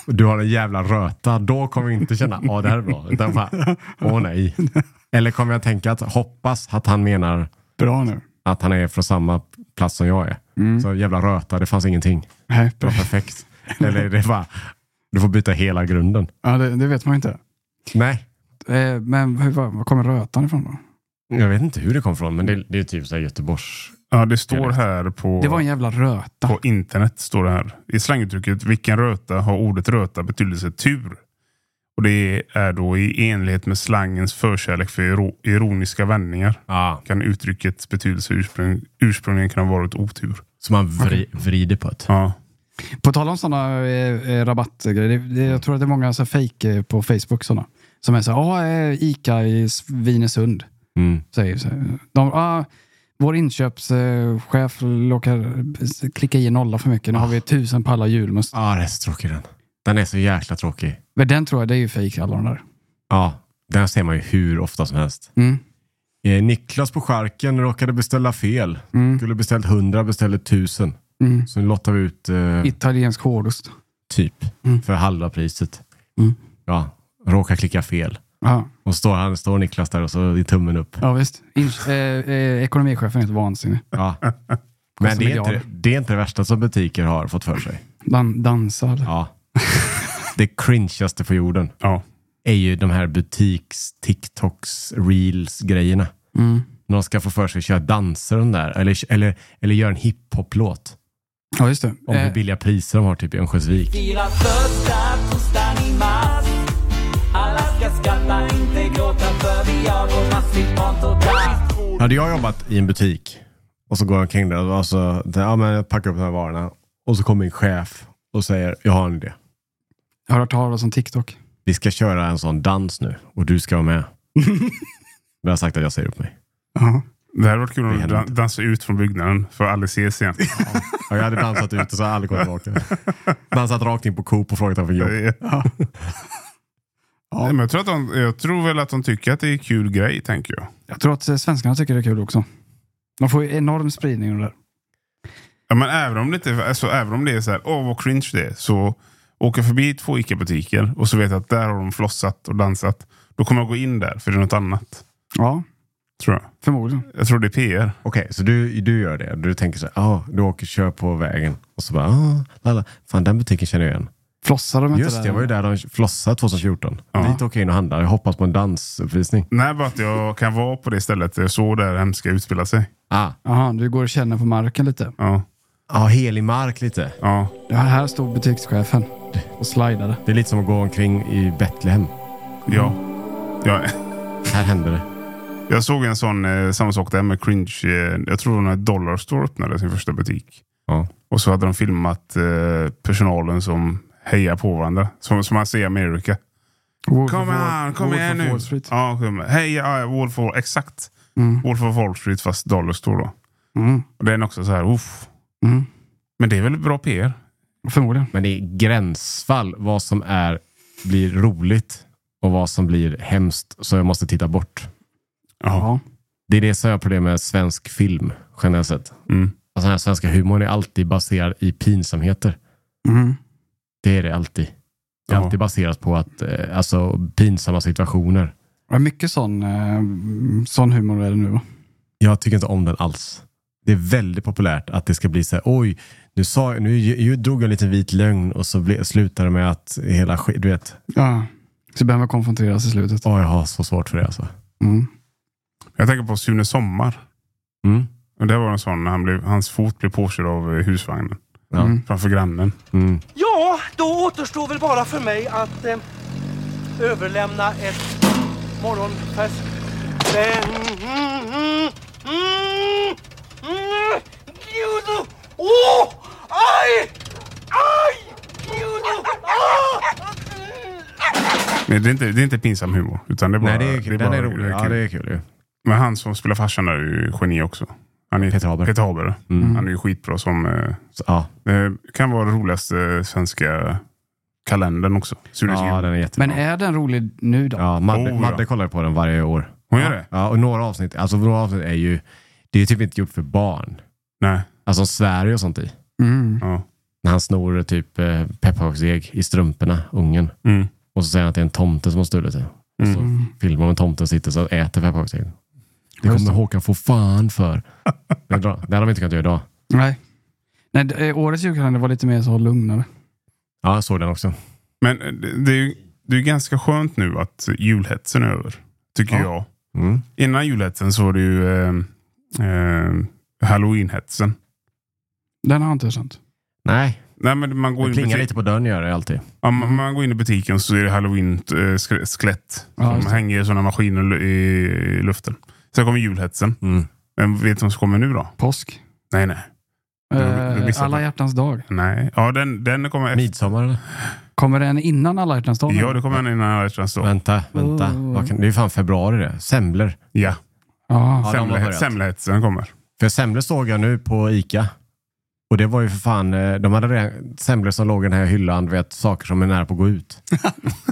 du har en jävla röta, då kommer vi inte känna åh det här är bra. Utan bara, åh nej. Eller kommer jag tänka att hoppas att han menar
Bra nu.
att han är från samma plats som jag är. Så jävla röta, det fanns ingenting.
Nej,
Det var perfekt. Eller det var, du får byta hela grunden.
ja, det, det vet man ju inte.
Nej,
Eh, men hur, var, var kommer rötan ifrån då?
jag vet inte hur det kom från, men det, det är typ så här Göteborgs...
Ja, det står här på,
Det var en jävla röta.
på internet. står det här. I slanguttrycket vilken röta har ordet röta betydelse tur. Och Det är då i enlighet med slangens förkärlek för iro- ironiska vändningar.
Ja,
Kan uttryckets betydelse ursprung, ursprungligen kunna ha varit otur.
som man vri, vrider på ett.
Ja.
På tal om sådana eh, eh, rabattgrejer. Det, det, jag tror att det är många så här, fake eh, på Facebook sådana. Som är så här, ah, eh, Ica i Svinesund.
Mm.
Säger så här. De, ah, vår inköpschef råkar klicka i en nolla för mycket. Nu har
Ah.
vi tusen pallar julmust.
Ja, Ah, det är så tråkig den. Den är så jäkla tråkig.
Men den tror jag, det är ju fake alla de där.
Ja, den ser man ju hur ofta som helst.
Mm.
Eh, Niklas på skärken råkade beställa fel. Skulle beställt 100, beställde 1000.
Mm.
Så nu lottar vi ut eh,
Italiensk hårdost.
typ för halva priset.
Mm.
Ja, råkar klicka fel.
Ja,
Och står, han, står Niklas där och så i tummen upp.
ja visst. In- eh, eh, ekonomichefen är helt vansinnig.
Ja. Men det är, inte,
miljard.
det är inte det värsta som butiker har fått för sig.
Dan- dansar.
Ja. Det cringeaste på jorden
ja.
är ju de här butiks, TikToks, reels-grejerna.
Mm.
När de ska få för sig att köra danser och de där. Eller, eller, eller göra en hiphop-låt.
Ja, just det.
Om hur
Eh,
billiga priser de har typ i Örnsköldsvik.
Fira första torsdagen i mars Alla ska skratta, inte gråta för vi har vår marsipan och dans
Hade jag jobbat i en butik och så går jag omkring där och så ja, men jag packar upp de här varorna. Och så kommer min chef och säger, jag har en idé.
har hört talas om TikTok.
Vi ska köra en sån dans nu och du ska vara med. Men jag har sagt att jag säger upp mig.
Ja.
Det hade varit kul om
Det
du
hade
dan-
inte.
dansade ut från byggnaden för att aldrig ses igen.
Ja, jag hade dansat ut och så har jag aldrig kommit tillbaka. Dansat rakt in på Coop och frågat om för jobb.
Ja. Nej, men jag, tror att de, jag tror väl att de tycker att det är en kul grej, tänker jag.
Jag tror att eh, svenskarna tycker det är kul också. De får ju enorm spridning av det där.
Ja, men även om det, inte, alltså, även om det är så här, åh vad cringe det är, så åker jag förbi två ICA-butiker och så vet jag att där har de flossat och dansat. Då kommer jag gå in där, för det är något annat.
Ja,
Tror jag.
förmodligen.
Jag tror det är PR.
Okej, så du, du gör det. Du tänker så här, ah, du åker kör på vägen. Och så bara, ah, lala. fan den butiken känner jag igen.
Flossar de inte
Just
där?
det, jag var ju där de flossade 2014.
Ja.
Dit åker jag in och handlar. Jag hoppas på en dansuppvisning.
Nej, bara att jag kan vara på det stället där jag såg det här hemska utspela sig.
Ah,
Jaha, du går och känner på marken lite.
Ja,
ah helig mark lite.
ja.
Ja, här stod butikschefen och slidade.
Det är lite som att gå omkring i Betlehem.
ja. ja.
Här händer det.
Jag såg en sån, eh, samma sak där med cringe. Eh, jag tror när Dollar Store öppnade sin första butik.
Ja.
Och så hade de filmat eh, personalen som hejar på varandra. Som, som man ser i Amerika.
Wolf
Kom
of Wall-
igen, kom
Wolf
igen
of
nu.
Wall Street.
Ja, kom. Hej, ja, ja, Wolf of, exakt.
Mm.
Wolf of Wall Street fast Dollar Store då.
Mm.
Och den är också så här, uff.
Mm.
Men det är väl bra PR?
Förmodligen.
Men det är gränsfall vad som är, blir roligt och vad som blir hemskt. Så jag måste titta bort.
Ja.
Ja.
Det är det som jag har problem med svensk film generellt sett.
Mm.
Alltså den här svenska humorn är alltid baserad i pinsamheter.
Mm.
Det är det alltid. Det är
Ja.
alltid baserat på att, eh, alltså, pinsamma situationer.
Ja, mycket sån, eh, sån humor är det nu. va?
Jag tycker inte om den alls. Det är väldigt populärt att det ska bli så här, oj, nu, sa, jag- nu, ju- drog jag en liten vit lögn och så ble, slutade det med att hela skit- du vet,
Ja. Så behöver man konfronteras i slutet.
åh, jag har så svårt för det alltså.
Mm.
Jag tänker på Sune Sommar.
Mm.
Och det var en sån, när han blev, hans fot blev påkörd av eh, husvagnen.
Ja.
Mm.
Framför grannen.
Mm.
Ja, då återstår väl bara för mig att eh, överlämna ett morgonfärs... Gud! Åh! Aj! Aj! Gud! Ah!
Men det, är inte, det är inte pinsam humor. Utan det är bara,
Nej, det är,
det är
den
bara-
är rolig.
det är
Ja,
kul.
det är kul ju.
Men han som spelar farsan där är ju geni också. Han är
Peter Haber. Mm.
Peter Haber. Han är ju skitbra som... Eh,
Så, ja,
det kan vara den roligaste svenska kalendern också. Sunes
ja,
jul.
den är jättebra.
Men är den rolig nu då?
Ja, Madde,
Oh, ja.
Madde kollar ju på den varje år.
Hon gör det?
Ja, och några avsnitt, alltså några avsnitt är ju, det är ju typ inte gjort för barn.
Nej.
Alltså Sverige och sånt i.
Mm.
Ja.
När han snor typ eh, pepparkaksdeg i strumporna, ungen.
Mm.
Och så säger han att det är en tomte som har stulit det. Och så filmar de tomten sitter så och äter pepparkaksdegen. Det
Just
kommer Håkan få fan för. Det är bra. Det hade de inte kunnat göra idag.
Nej. Nej, d- eh, årets julkalender var lite mer så lugnare.
Ja, jag såg den också.
Men eh, det- det är, ju, det är ju ganska skönt nu att julhetsen är över. Tycker jag.
Mm.
Innan julhetsen så var det ju eh, eh, halloweenhetsen.
Den har inte jag känt.
Nej,
Nej, men man går,
det
in i
plingar
butik-
lite på dörren gör det alltid.
ja, man, man går in i butiken och så är det eh, halloween-skelett.
Ja, just
som
det.
hänger i sådana maskiner lu- i, i luften. Sen kommer julhetsen.
Mm.
Men vet du vad som kommer nu då?
Påsk.
Nej, nej. Du- du
Eh,
missade
alla
det.
hjärtans dag.
nej. Ja, den, den kommer efter.
Midsommar eller?
Kommer den innan alla hjärtans dag?
Ja, det kommer en innan alla hjärtans dag.
Vänta, vänta.
Oh.
Vad kan- Det är ju fan februari det. Semlor.
Ja,
Ja.
Ja, de har
semlehet,
börjat.
semlehetsen kommer.
För semlor såg jag nu på Ica. Och det var ju för fan, eh, de hade redan semlor som låg i den här hyllan, du vet, saker som är nära på att gå ut.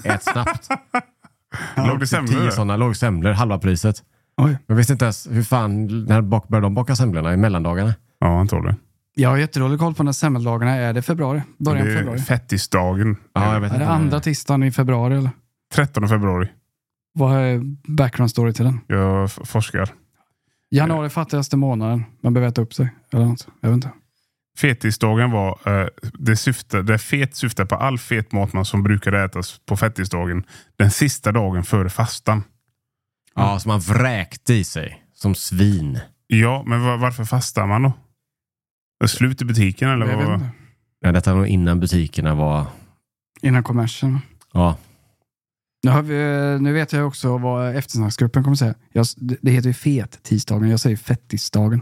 Ät snabbt. Typ
Låg det semlor
Tio
där?
sådana, låg semlor, halva priset.
Oj.
Jag visste inte ens hur fan, när bak, började de baka semlorna? I mellandagarna?
Ja, antagligen.
Jag har jättedålig koll på när semmeldagarna är. Är det februari? Början
Det
av
är
februari?
fettisdagen.
Ja, jag vet
Är det
inte.
andra typ- tisdagen i februari? Eller?
13 februari.
Vad är background story till den?
Jag f- forskar.
Januari fattigaste månaden. Man behöver äta upp sig. Eller något. Jag vet inte.
Fettisdagen var, eh, det, syftar, det fet syftar på all fet mat man som brukade ätas på fettisdagen den sista dagen före fastan.
Ja, som man vräkte i sig. Som svin.
Ja, men var, varför fastar man då? Är det Slut i butiken eller?
Jag vet
Vad?
inte.
Ja, detta var nog innan butikerna var...
Innan kommersen.
Ja,
Nu, har vi, nu vet jag också vad eftersnacksgruppen kommer säga. Jag, det heter ju fet-tisdagen. Jag säger fettisdagen.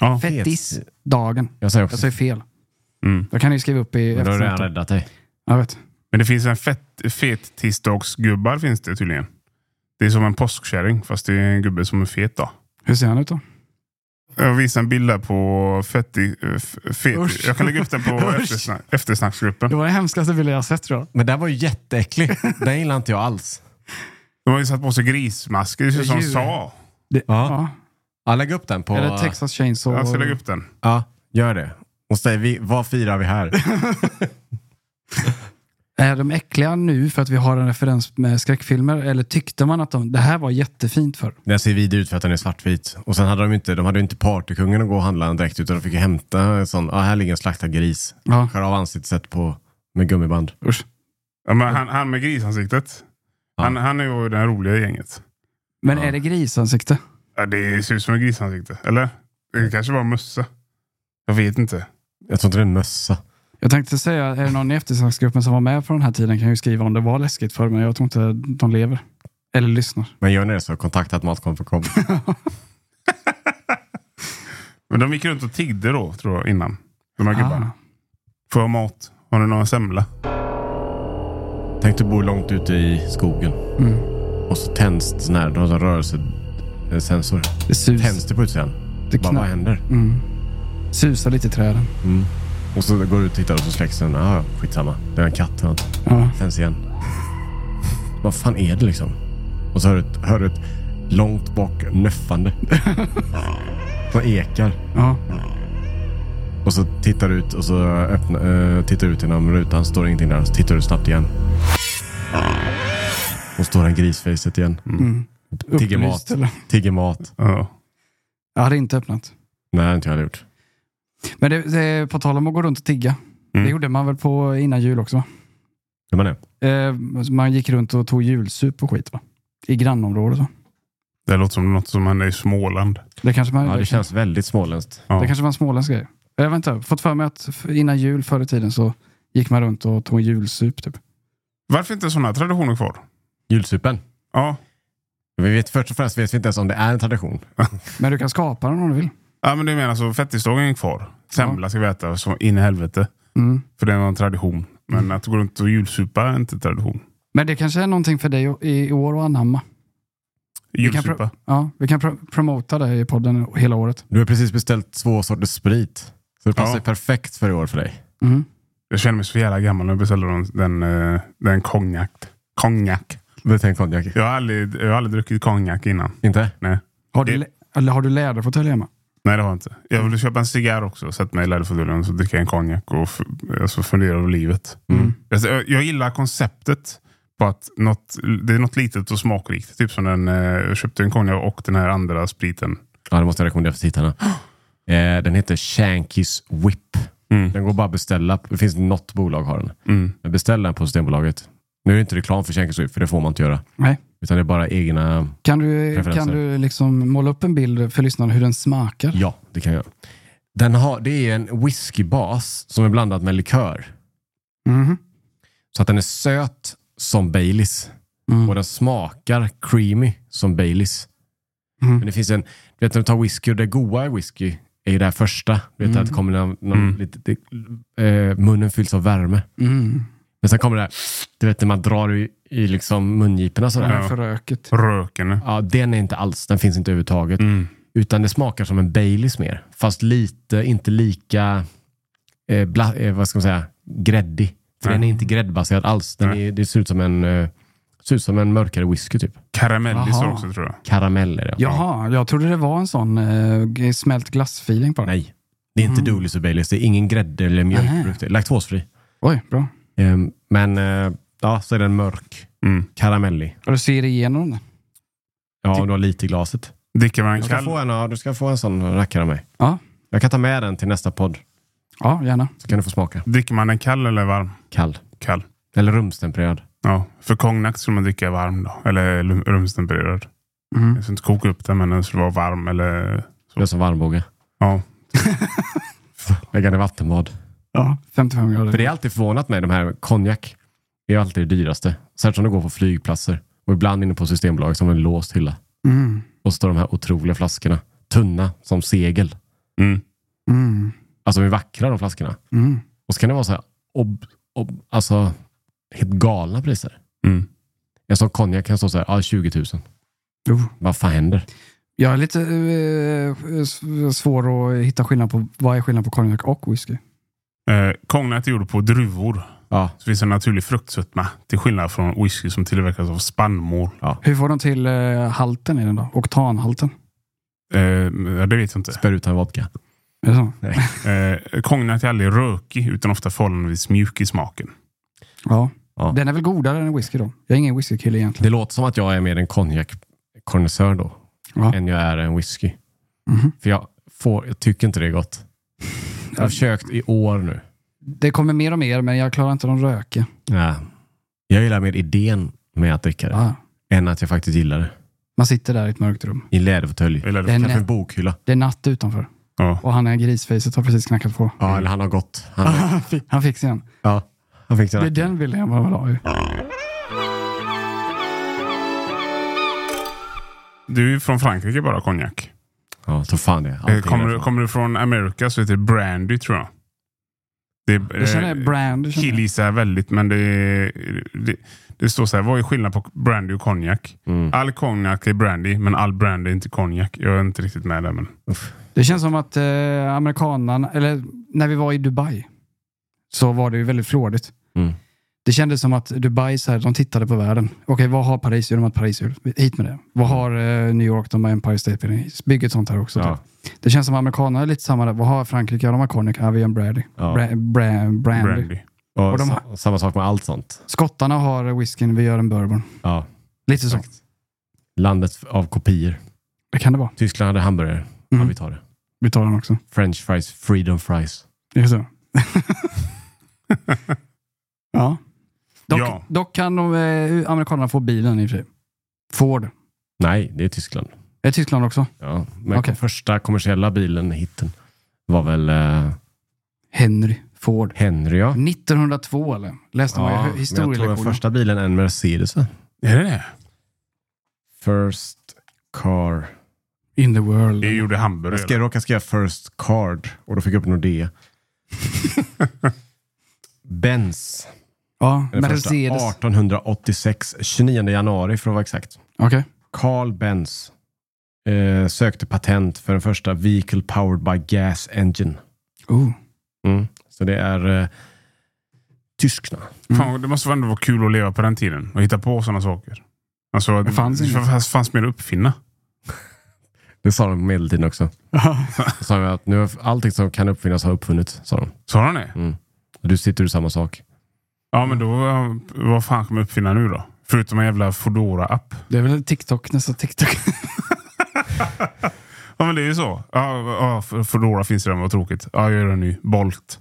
Ja.
Fettisdagen.
jag säger
Jag
också.
säger fel.
Mm.
Jag kan ni skriva upp i
Men då har du redan
eftersnacket.
räddat dig.
Jag vet.
Men det finns en fett, fet tisdagsgubbar finns det tydligen. Det är som en påskkärring fast det är en gubbe som är fet då.
Hur ser han ut då?
Jag visar en bild där på fetti, eh, f- fet.
Usch.
Jag kan lägga upp den på
Usch.
eftersnack, eftersnacksgruppen.
Det var den hemskaste bilden jag sett tror jag.
Men den var ju jätteäcklig. Den gillar inte jag alls.
De har ju satt på sig grismasker. Det ser ut som
Djur.
sa.
Ja.
Ja.
Ja, lägg upp den på...
Eller Texas Chainsaw.
Jag ska lägga upp den.
Ja, gör det. Och säg, vi, vad firar vi här?
Är de äckliga nu för att vi har en referens med skräckfilmer? Eller tyckte man att de, det här var jättefint för?
Den ser vidrig ut för att den är svartvit. Och sen hade de inte, de hade ju inte partykungen att gå och handla den direkt utan de fick ju hämta en sån, ah, här ligger en slaktad gris.
Ja.
Skär av ansiktet på, med gummiband.
Usch.
Ja, men han, han med grisansiktet. Han, han är ju den roliga i gänget.
Men är det grisansikte?
Ja, det ser ut som en grisansikte. Eller? Det kanske var en mössa. Jag vet inte.
Jag tror inte det är en mössa.
Jag tänkte säga, är det någon i eftersnacksgruppen som var med på den här tiden kan ju skriva om det var läskigt för men jag tror inte de lever. Eller lyssnar.
Men gör ni det så kontakta matkom.com.
Men de gick runt och tiggde då, tror jag, innan. De här
Ah.
gubbarna. Får jag mat? Har ni någon semla?
Tänk du bo långt ute i skogen.
Mm.
Och så tänds det sån här, de har sån rörelsesensor.
Det,
Tänds
sus,
det på utsidan.
det
Bara, vad
knä,
händer?
susar lite i träden.
Och så går du ut och tittar och så släcks den. Ah, ja, skitsamma. Det är en katt eller något.
Ja.
Tänds igen. Vad fan är det liksom? Och så hör du ett, hör du ett långt bak nöffande. Som ekar.
Ja.
Och så tittar du ut och så öppna, eh, tittar du ut genom rutan. Står ingenting där. Så tittar du snabbt igen. Och står den grisfejset igen. Tigger
Upplyst,
mat.
eller?
Tigger mat.
Ja.
Jag hade inte öppnat.
Nej, inte jag hade gjort.
Men det, det, på tal om att gå runt och tigga.
Mm.
Det gjorde man väl på innan jul också? va?
Hur man är.
Eh, man gick runt och tog julsup och skit va? I grannområdet va?
Det låter som något som hände i Småland.
Det kanske man...
Ja, det känns väldigt småländskt.
Ja.
Det kanske var en småländsk grej. Jag vet inte, fått för mig att f- innan jul förr i tiden så gick man runt och tog en julsup. Typ.
Varför inte sådana traditioner kvar?
Julsupen.
Ja.
Vi vet, först och främst vet vi inte ens om det är en tradition.
Men du kan skapa den om du vill.
ja, men det menar så fettisdagen är kvar. Semla ska vi äta så in i helvete.
Mm.
För det är en tradition. Men att gå runt och julsupa är inte tradition.
Men det kanske är någonting för dig o- i år att anamma. Vi kan,
Julsupa.
pro- ja, vi kan pro- promota det i podden hela året.
Du har precis beställt två sorters sprit. Så det passar
Ja.
ju perfekt för i år för dig.
Mm.
Jag känner mig så jävla gammal när jag beställde den, den, eh, den konjak. Konjak.
Betänk konjak.
Jag har aldrig, jag har aldrig druckit konjak innan.
Inte?
Nej.
Har, du
Det-
lä- eller har du läderfåtölj hemma?
Nej, det har jag inte. Jag ville köpa en cigarr också. Sätta mig i läderfåtöljen och så dricka en konjak och f- alltså fundera över livet.
Mm.
Alltså, Jag, jag gillar konceptet på att något, det är något litet och smakrikt. Typ som den, eh, jag köpte en konjak och den här andra spriten.
Ja, det måste jag rekommendera för tittarna. Eh, den heter Shanky's Whip. Den går bara att beställa. Det finns något bolag har den. Men beställ den på Systembolaget. Nu är det inte reklam för Shanky's Whip, för det får man inte göra.
Nej.
Utan det är bara egna...
Kan du, kan
Preferenser.
du liksom måla upp en bild för lyssnarna hur den smakar?
Ja, det kan jag göra. Den har, det är en whiskybas som är blandad med likör.
Mhm.
Så att den är söt som Baileys.
Mm.
Och den smakar creamy som Baileys.
Mm.
Men det finns en, du vet när du tar whisky och det goa i whisky är ju det här första. Du vet att
Mm.
det kommer någon, någon lite, det, eh, munnen fylls av värme.
Mm.
Men sen kommer det här, du vet när man drar i, i liksom mungiporna sådär.
Den
Ja.
är för röket.
Röken.
den är inte alls, den finns inte överhuvudtaget.
Mm.
Utan det smakar som en Baileys mer. Fast lite, inte lika, eh, bla, eh, vad ska man säga, gräddig. För
Nej.
den är inte gräddbaserad alls. Den
Nej.
är, det ser ut som en, eh, ser ut som en mörkare whisky typ.
Karamellisar
Jaha.
också tror jag.
Karamell är det.
Jaha, jag trodde det var en sån eh, g- smält glass-feeling på den.
Nej, det är inte Dooleys och Baileys. Det är ingen grädde eller mjölkprodukt. Det är Laktosfri.
Oj, bra.
Ehm, men eh, ja, så är den mörk,
Mm.
karamellig.
Och du ser igenom den?
Ja, om du har lite i glaset.
Dricker man en
Du ska,
kall?
få en, ja, du ska få en sån rackare av mig.
Ja.
Jag kan ta med den till nästa podd.
Ja, gärna.
Så kan du få smaka.
Dricker man en kall eller varm?
Kall.
Kall.
Eller rumstempererad.
Ja, för kognak skulle man dricka varm då. Eller lum- rumstempererad.
Mm.
Jag ska inte koka upp den, men den skulle vara varm eller...
Det är som varmbåge.
Ja.
Lägga den i vattenbad.
Ja. 55 grader.
För det är alltid förvånat mig, de här konjak. Det är alltid det dyraste. Särskilt om de går på flygplatser. Och ibland inne på Systembolaget som en låst hylla.
Mm.
Och så står de här otroliga flaskorna. Tunna som segel.
Mm.
Mm.
Alltså de är vackra de flaskorna.
Mm.
Och så kan det vara så här, ob, ob, alltså helt galna priser.
Mm.
En sån konjak kan stå så här, ja 20 000.
Oh.
Vad fan händer?
Jag är lite eh, s- svår att hitta skillnad på vad är skillnad på konjak och whisky.
Eh, kognak är gjord på druvor.
Ja.
Så finns en naturlig fruktsötma. Till skillnad från whisky som tillverkas av spannmål.
Hur får de till eh, halten i den då? Oktanhalten?
Eh, ja, det vet jag inte.
Spär ut en vodka.
Är det så?
Eh, kognak är aldrig rökig, utan ofta förhållandevis mjuk i smaken.
Ja.
Ja.
Den är väl godare än whisky då? Jag är ingen whiskykille egentligen.
Det låter som att jag är mer en konjakkonnoisseur då.
Ja.
Än jag är en whisky.
Mhm.
För jag, får, jag tycker inte det är gott. Jag har försökt i år nu.
Det kommer mer och mer, men jag klarar inte de rökiga.
Ja. Jag gillar mer idén med att dricka det.
Ah.
Än att jag faktiskt gillar det.
Man sitter där i ett mörkt rum.
I en läderfåtölj.
Eller,
Den
Kanske
är-
en bokhylla.
Det är natt utanför.
Ja.
Och han är grisfejset har precis knackat på.
Ja, eller han har gått. Han,
Han fick- Han fick sen.
ja, han fick
Det är
sina-
den bilden jag bara vill ha. ju.
Du är ju från Frankrike bara, konjak.
Ja, så fan det är.
Eh,
Allting
kommer,
är
du,
därifrån.
kommer du från Amerika så heter det brandy, tror jag. Det är,
Jag känner
eh,
brand. känner jag.
killgissar väldigt, men det, det, det står så här. Vad är skillnaden på brandy och konjak?
Mm.
All konjak är brandy, men all brandy är inte konjak. Jag är inte riktigt med där. Men...
Det känns som att eh, amerikanerna, eller när vi var i Dubai, så var det ju väldigt flådigt.
Mm.
Det kändes som att Dubai, så här, de tittade på världen. Okej, vad har Paris? Jo, de har ett Paris. Hit med det. Vad
Mm.
har eh, New York? De har Empire State Building. Bygg ett sånt här också.
Ja.
typ. Det känns som att amerikanerna är lite samma där. Vad har Frankrike? Ja, de har cognac. Ja, vi har en brandy.
Ja.
Bra, bra, brandy.
Brandy.
Och
Och de
sa- Samma sak med allt sånt.
Skottarna har whiskyn, vi gör en bourbon.
Ja.
Lite så.
Landet av kopior.
Det kan det vara.
Tyskland hade hamburgare. Ja,
Mm.
vi tar det.
Vi tar den också.
French fries, freedom fries.
Det är så. ja. Dock,
Ja.
dock kan de, eh, amerikanerna få bilen i och för sig. Ford.
Nej, det är Tyskland.
Är det Tyskland också?
Ja. Men
Okej.
första kommersiella bilen, hitten, var väl eh,
Henry Ford.
Henry, ja.
1902 eller? Läste man
ja
Mm. ja,
men jag tror den
historielektionen.
första bilen är en Mercedes, va?
Är det det?
First car.
In the world.
Jag gjorde hamburgare.
Jag ska råka skriva first card och då fick jag upp Nordea. Benz.
Ja,
är den första.
Mercedes.
1886, 29 januari för att vara exakt.
Okej.
Carl Benz eh, sökte patent för den första Vehicle Powered by Gas Engine.
Oh.
Så det är eh, tyskarna.
Fan, det måste väl ändå vara kul att leva på den tiden och hitta på sådana saker. Alltså, det
fanns
fanns, det
inget.
fanns, fanns mer att uppfinna.
Det sa de på medeltiden också. Då sa de att nu har allting som kan uppfinnas har uppfunnits, sa de.
Sa han det?
Du sitter i samma sak.
Ja, men då... eh, Vad fan kommer uppfinna nu då? Förutom en jävla fodora app
Det är väl TikTok, nästa TikTok.
Ja, men det är ju så. Ja, ja, Foodora finns redan, vad tråkigt. Ja, jag gör en ny. Bolt.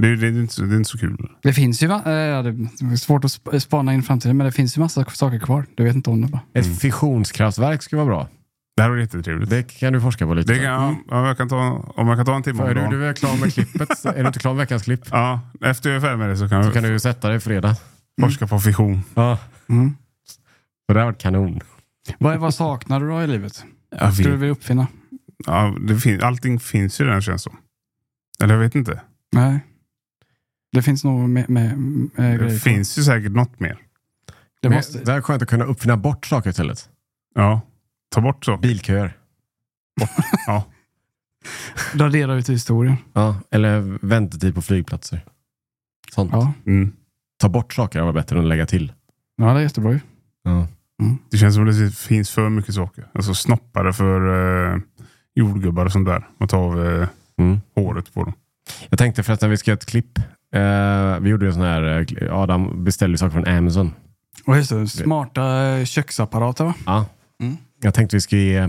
Det, är- det, är inte, så- det är inte så kul.
Det finns ju, va- eh, ja, det är svårt att sp- spana in i framtiden, men det finns ju massa saker kvar. Du vet inte om det bara.
Ett fissionskraftverk skulle vara bra.
Det här var jättetrevligt. Det,
Det kan du forska på lite.
kan, ja, ja, jag kan ta, om jag kan ta en timme
För
om
är du,
dagen.
du är klar med klippet. så- Är du inte klar med veckans klipp?
Ja, efter jag är färdig med det så kan
Så
jag
kan du ju sätta dig fredag.
forska på fission.
Ja.
Mm.
Så det har varit kanon.
Vad, vad saknar du då i livet?
Jag
Skulle du vilja uppfinna?
Ja, det fin, allting finns ju redan känns som. Eller jag vet inte.
Nej. Det finns nog med, med, med
Det
grejer.
finns ju säkert något mer.
Det
Men
måste,
Det är skönt att kunna uppfinna bort saker istället.
Ja, ta bort saker.
Bilköer.
Ja.
radera ut i historien.
Ja. Eller väntetid på flygplatser. Sånt.
Ja.
Mm.
Ta bort saker var bättre än att lägga till.
ja, det är jättebra ju.
Ja.
Det känns som att det finns för mycket saker. Alltså snoppare för eh, jordgubbar och sånt där. Man tar av eh,
Mm.
håret på dem.
Jag tänkte förresten vi ska göra ett klipp. Eh, vi gjorde en sån här, eh, kli- Adam beställde ju saker från Amazon.
Och just det, smarta eh, köksapparater va?
Ja.
Mm.
Jag tänkte vi ska ge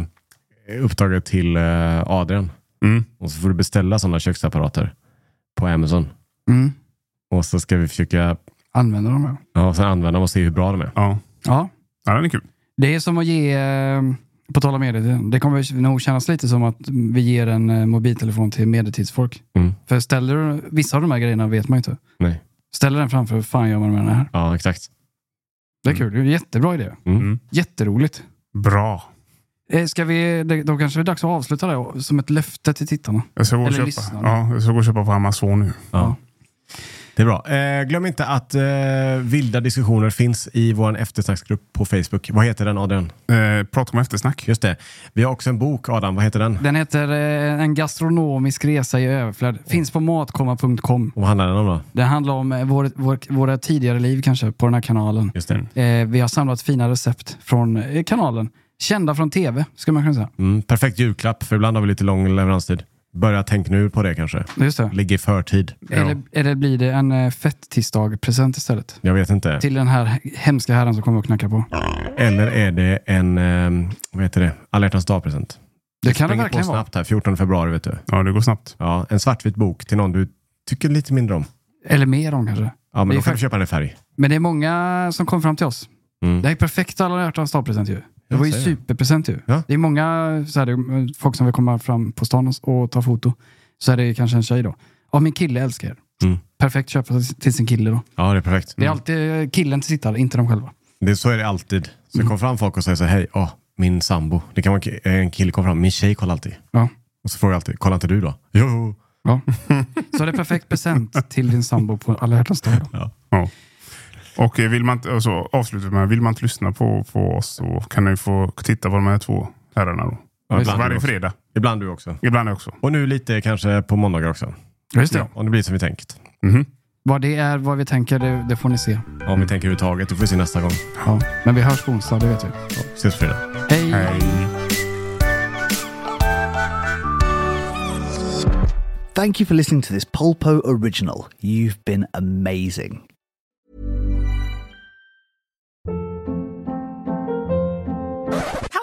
uppdraget till eh, Adrian.
Mm.
Och så får du beställa sådana köksapparater på Amazon.
Mm.
Och så ska vi försöka
Använder de här.
ja, och sen använda dem och se hur bra de är.
Ja.
Ja.
ja, den är kul.
Det är som att ge, eh, på tal om medeltiden, det kommer nog kännas lite som att vi ger en eh, mobiltelefon till medeltidsfolk.
Mm.
För ställer du, vissa av de här grejerna vet man ju inte.
Nej.
Ställer den framför, vad fan gör man med den här?
Ja, exakt.
Det är kul, det är en jättebra idé.
Mm.
Mm.
Jätteroligt.
Bra.
Eh, Ska vi, det- då kanske det är dags att avsluta det och- som ett löfte till tittarna.
Jag ska gå och
Eller
köpa.
lyssna.
Ja, jag ska gå och köpa på Amazon nu.
Ja. Det är bra. Eh, glöm inte att eh, vilda diskussioner finns i vår eftersnacksgrupp på Facebook. Vad heter den Adrian?
Eh, prata om eftersnack.
Just det. Vi har också en bok Adam. Vad heter den?
Den heter eh, En gastronomisk resa i överflöd. Finns på matkomma.com.
Och vad handlar den om då?
Det handlar om eh, vår, vår, våra tidigare liv kanske på den här kanalen.
Just det.
Eh, vi har samlat fina recept från eh, kanalen. Kända från tv, skulle man kunna säga.
Mm, perfekt julklapp, för ibland har vi lite lång leveranstid. Börja tänk nu på det kanske.
Just det.
Ligg i förtid.
Eller, eller blir det en eh, fett-tisdag-present istället?
Jag vet inte.
Till den här hemska herren som kommer och knackar på.
Eller är det en, eh, vad heter det, alla hjärtans dag-present?
Det kan det
Springer
verkligen
på
vara.
snabbt här, 14 februari vet du.
Ja, det går snabbt.
Ja, en svartvit bok till någon du tycker lite mindre om.
Eller mer om kanske.
Ja,
Det
men
är
då kan du
fakt-
köpa den i färg.
Men det är många som kom fram till oss.
Mm.
Det här är perfekt alla hjärtans dag-present ju. Det
Jag
var ju
säger det.
superpresent ju.
Ja.
Det är många så här, det är folk som vill komma fram på stan och- och ta foto. Så är det kanske en tjej då. Ja, min kille älskar er.
Mm.
Perfekt köp till sin kille då.
Ja, det är perfekt. Mm.
Det är alltid eh, killen till sittare, inte de själva.
Det, så är det alltid. Så
Mm.
kommer fram folk och säger så här, hej, åh, min sambo. Det kan vara en ki- en kille kommer fram, min tjej kollar alltid.
Ja.
Och så frågar jag alltid, kollar inte du då? Jo.
Ja. Så det är perfekt present till din sambo på alla hjärtans dag. då.
Och eh, vill man, inte- alltså, avslutet med, vill man inte lyssna på, på oss så kan ni få titta på de här två herrarna då.
Ja, ibland du
Varje
också.
fredag.
Ibland du också.
Ibland också.
Och nu lite kanske på måndagar också.
Just det.
Om det blir som vi tänkt.
Mhm.
Vad det är, vad vi tänker, det, det får ni se.
Om vi tänker överhuvudtaget. Det får vi se nästa gång.
Ja. Men vi hörs på onsdag, det vet vi.
Ja, ses på fredag.
Hej.
Hej.
Thank you for listening to this Polpo original. You've been amazing.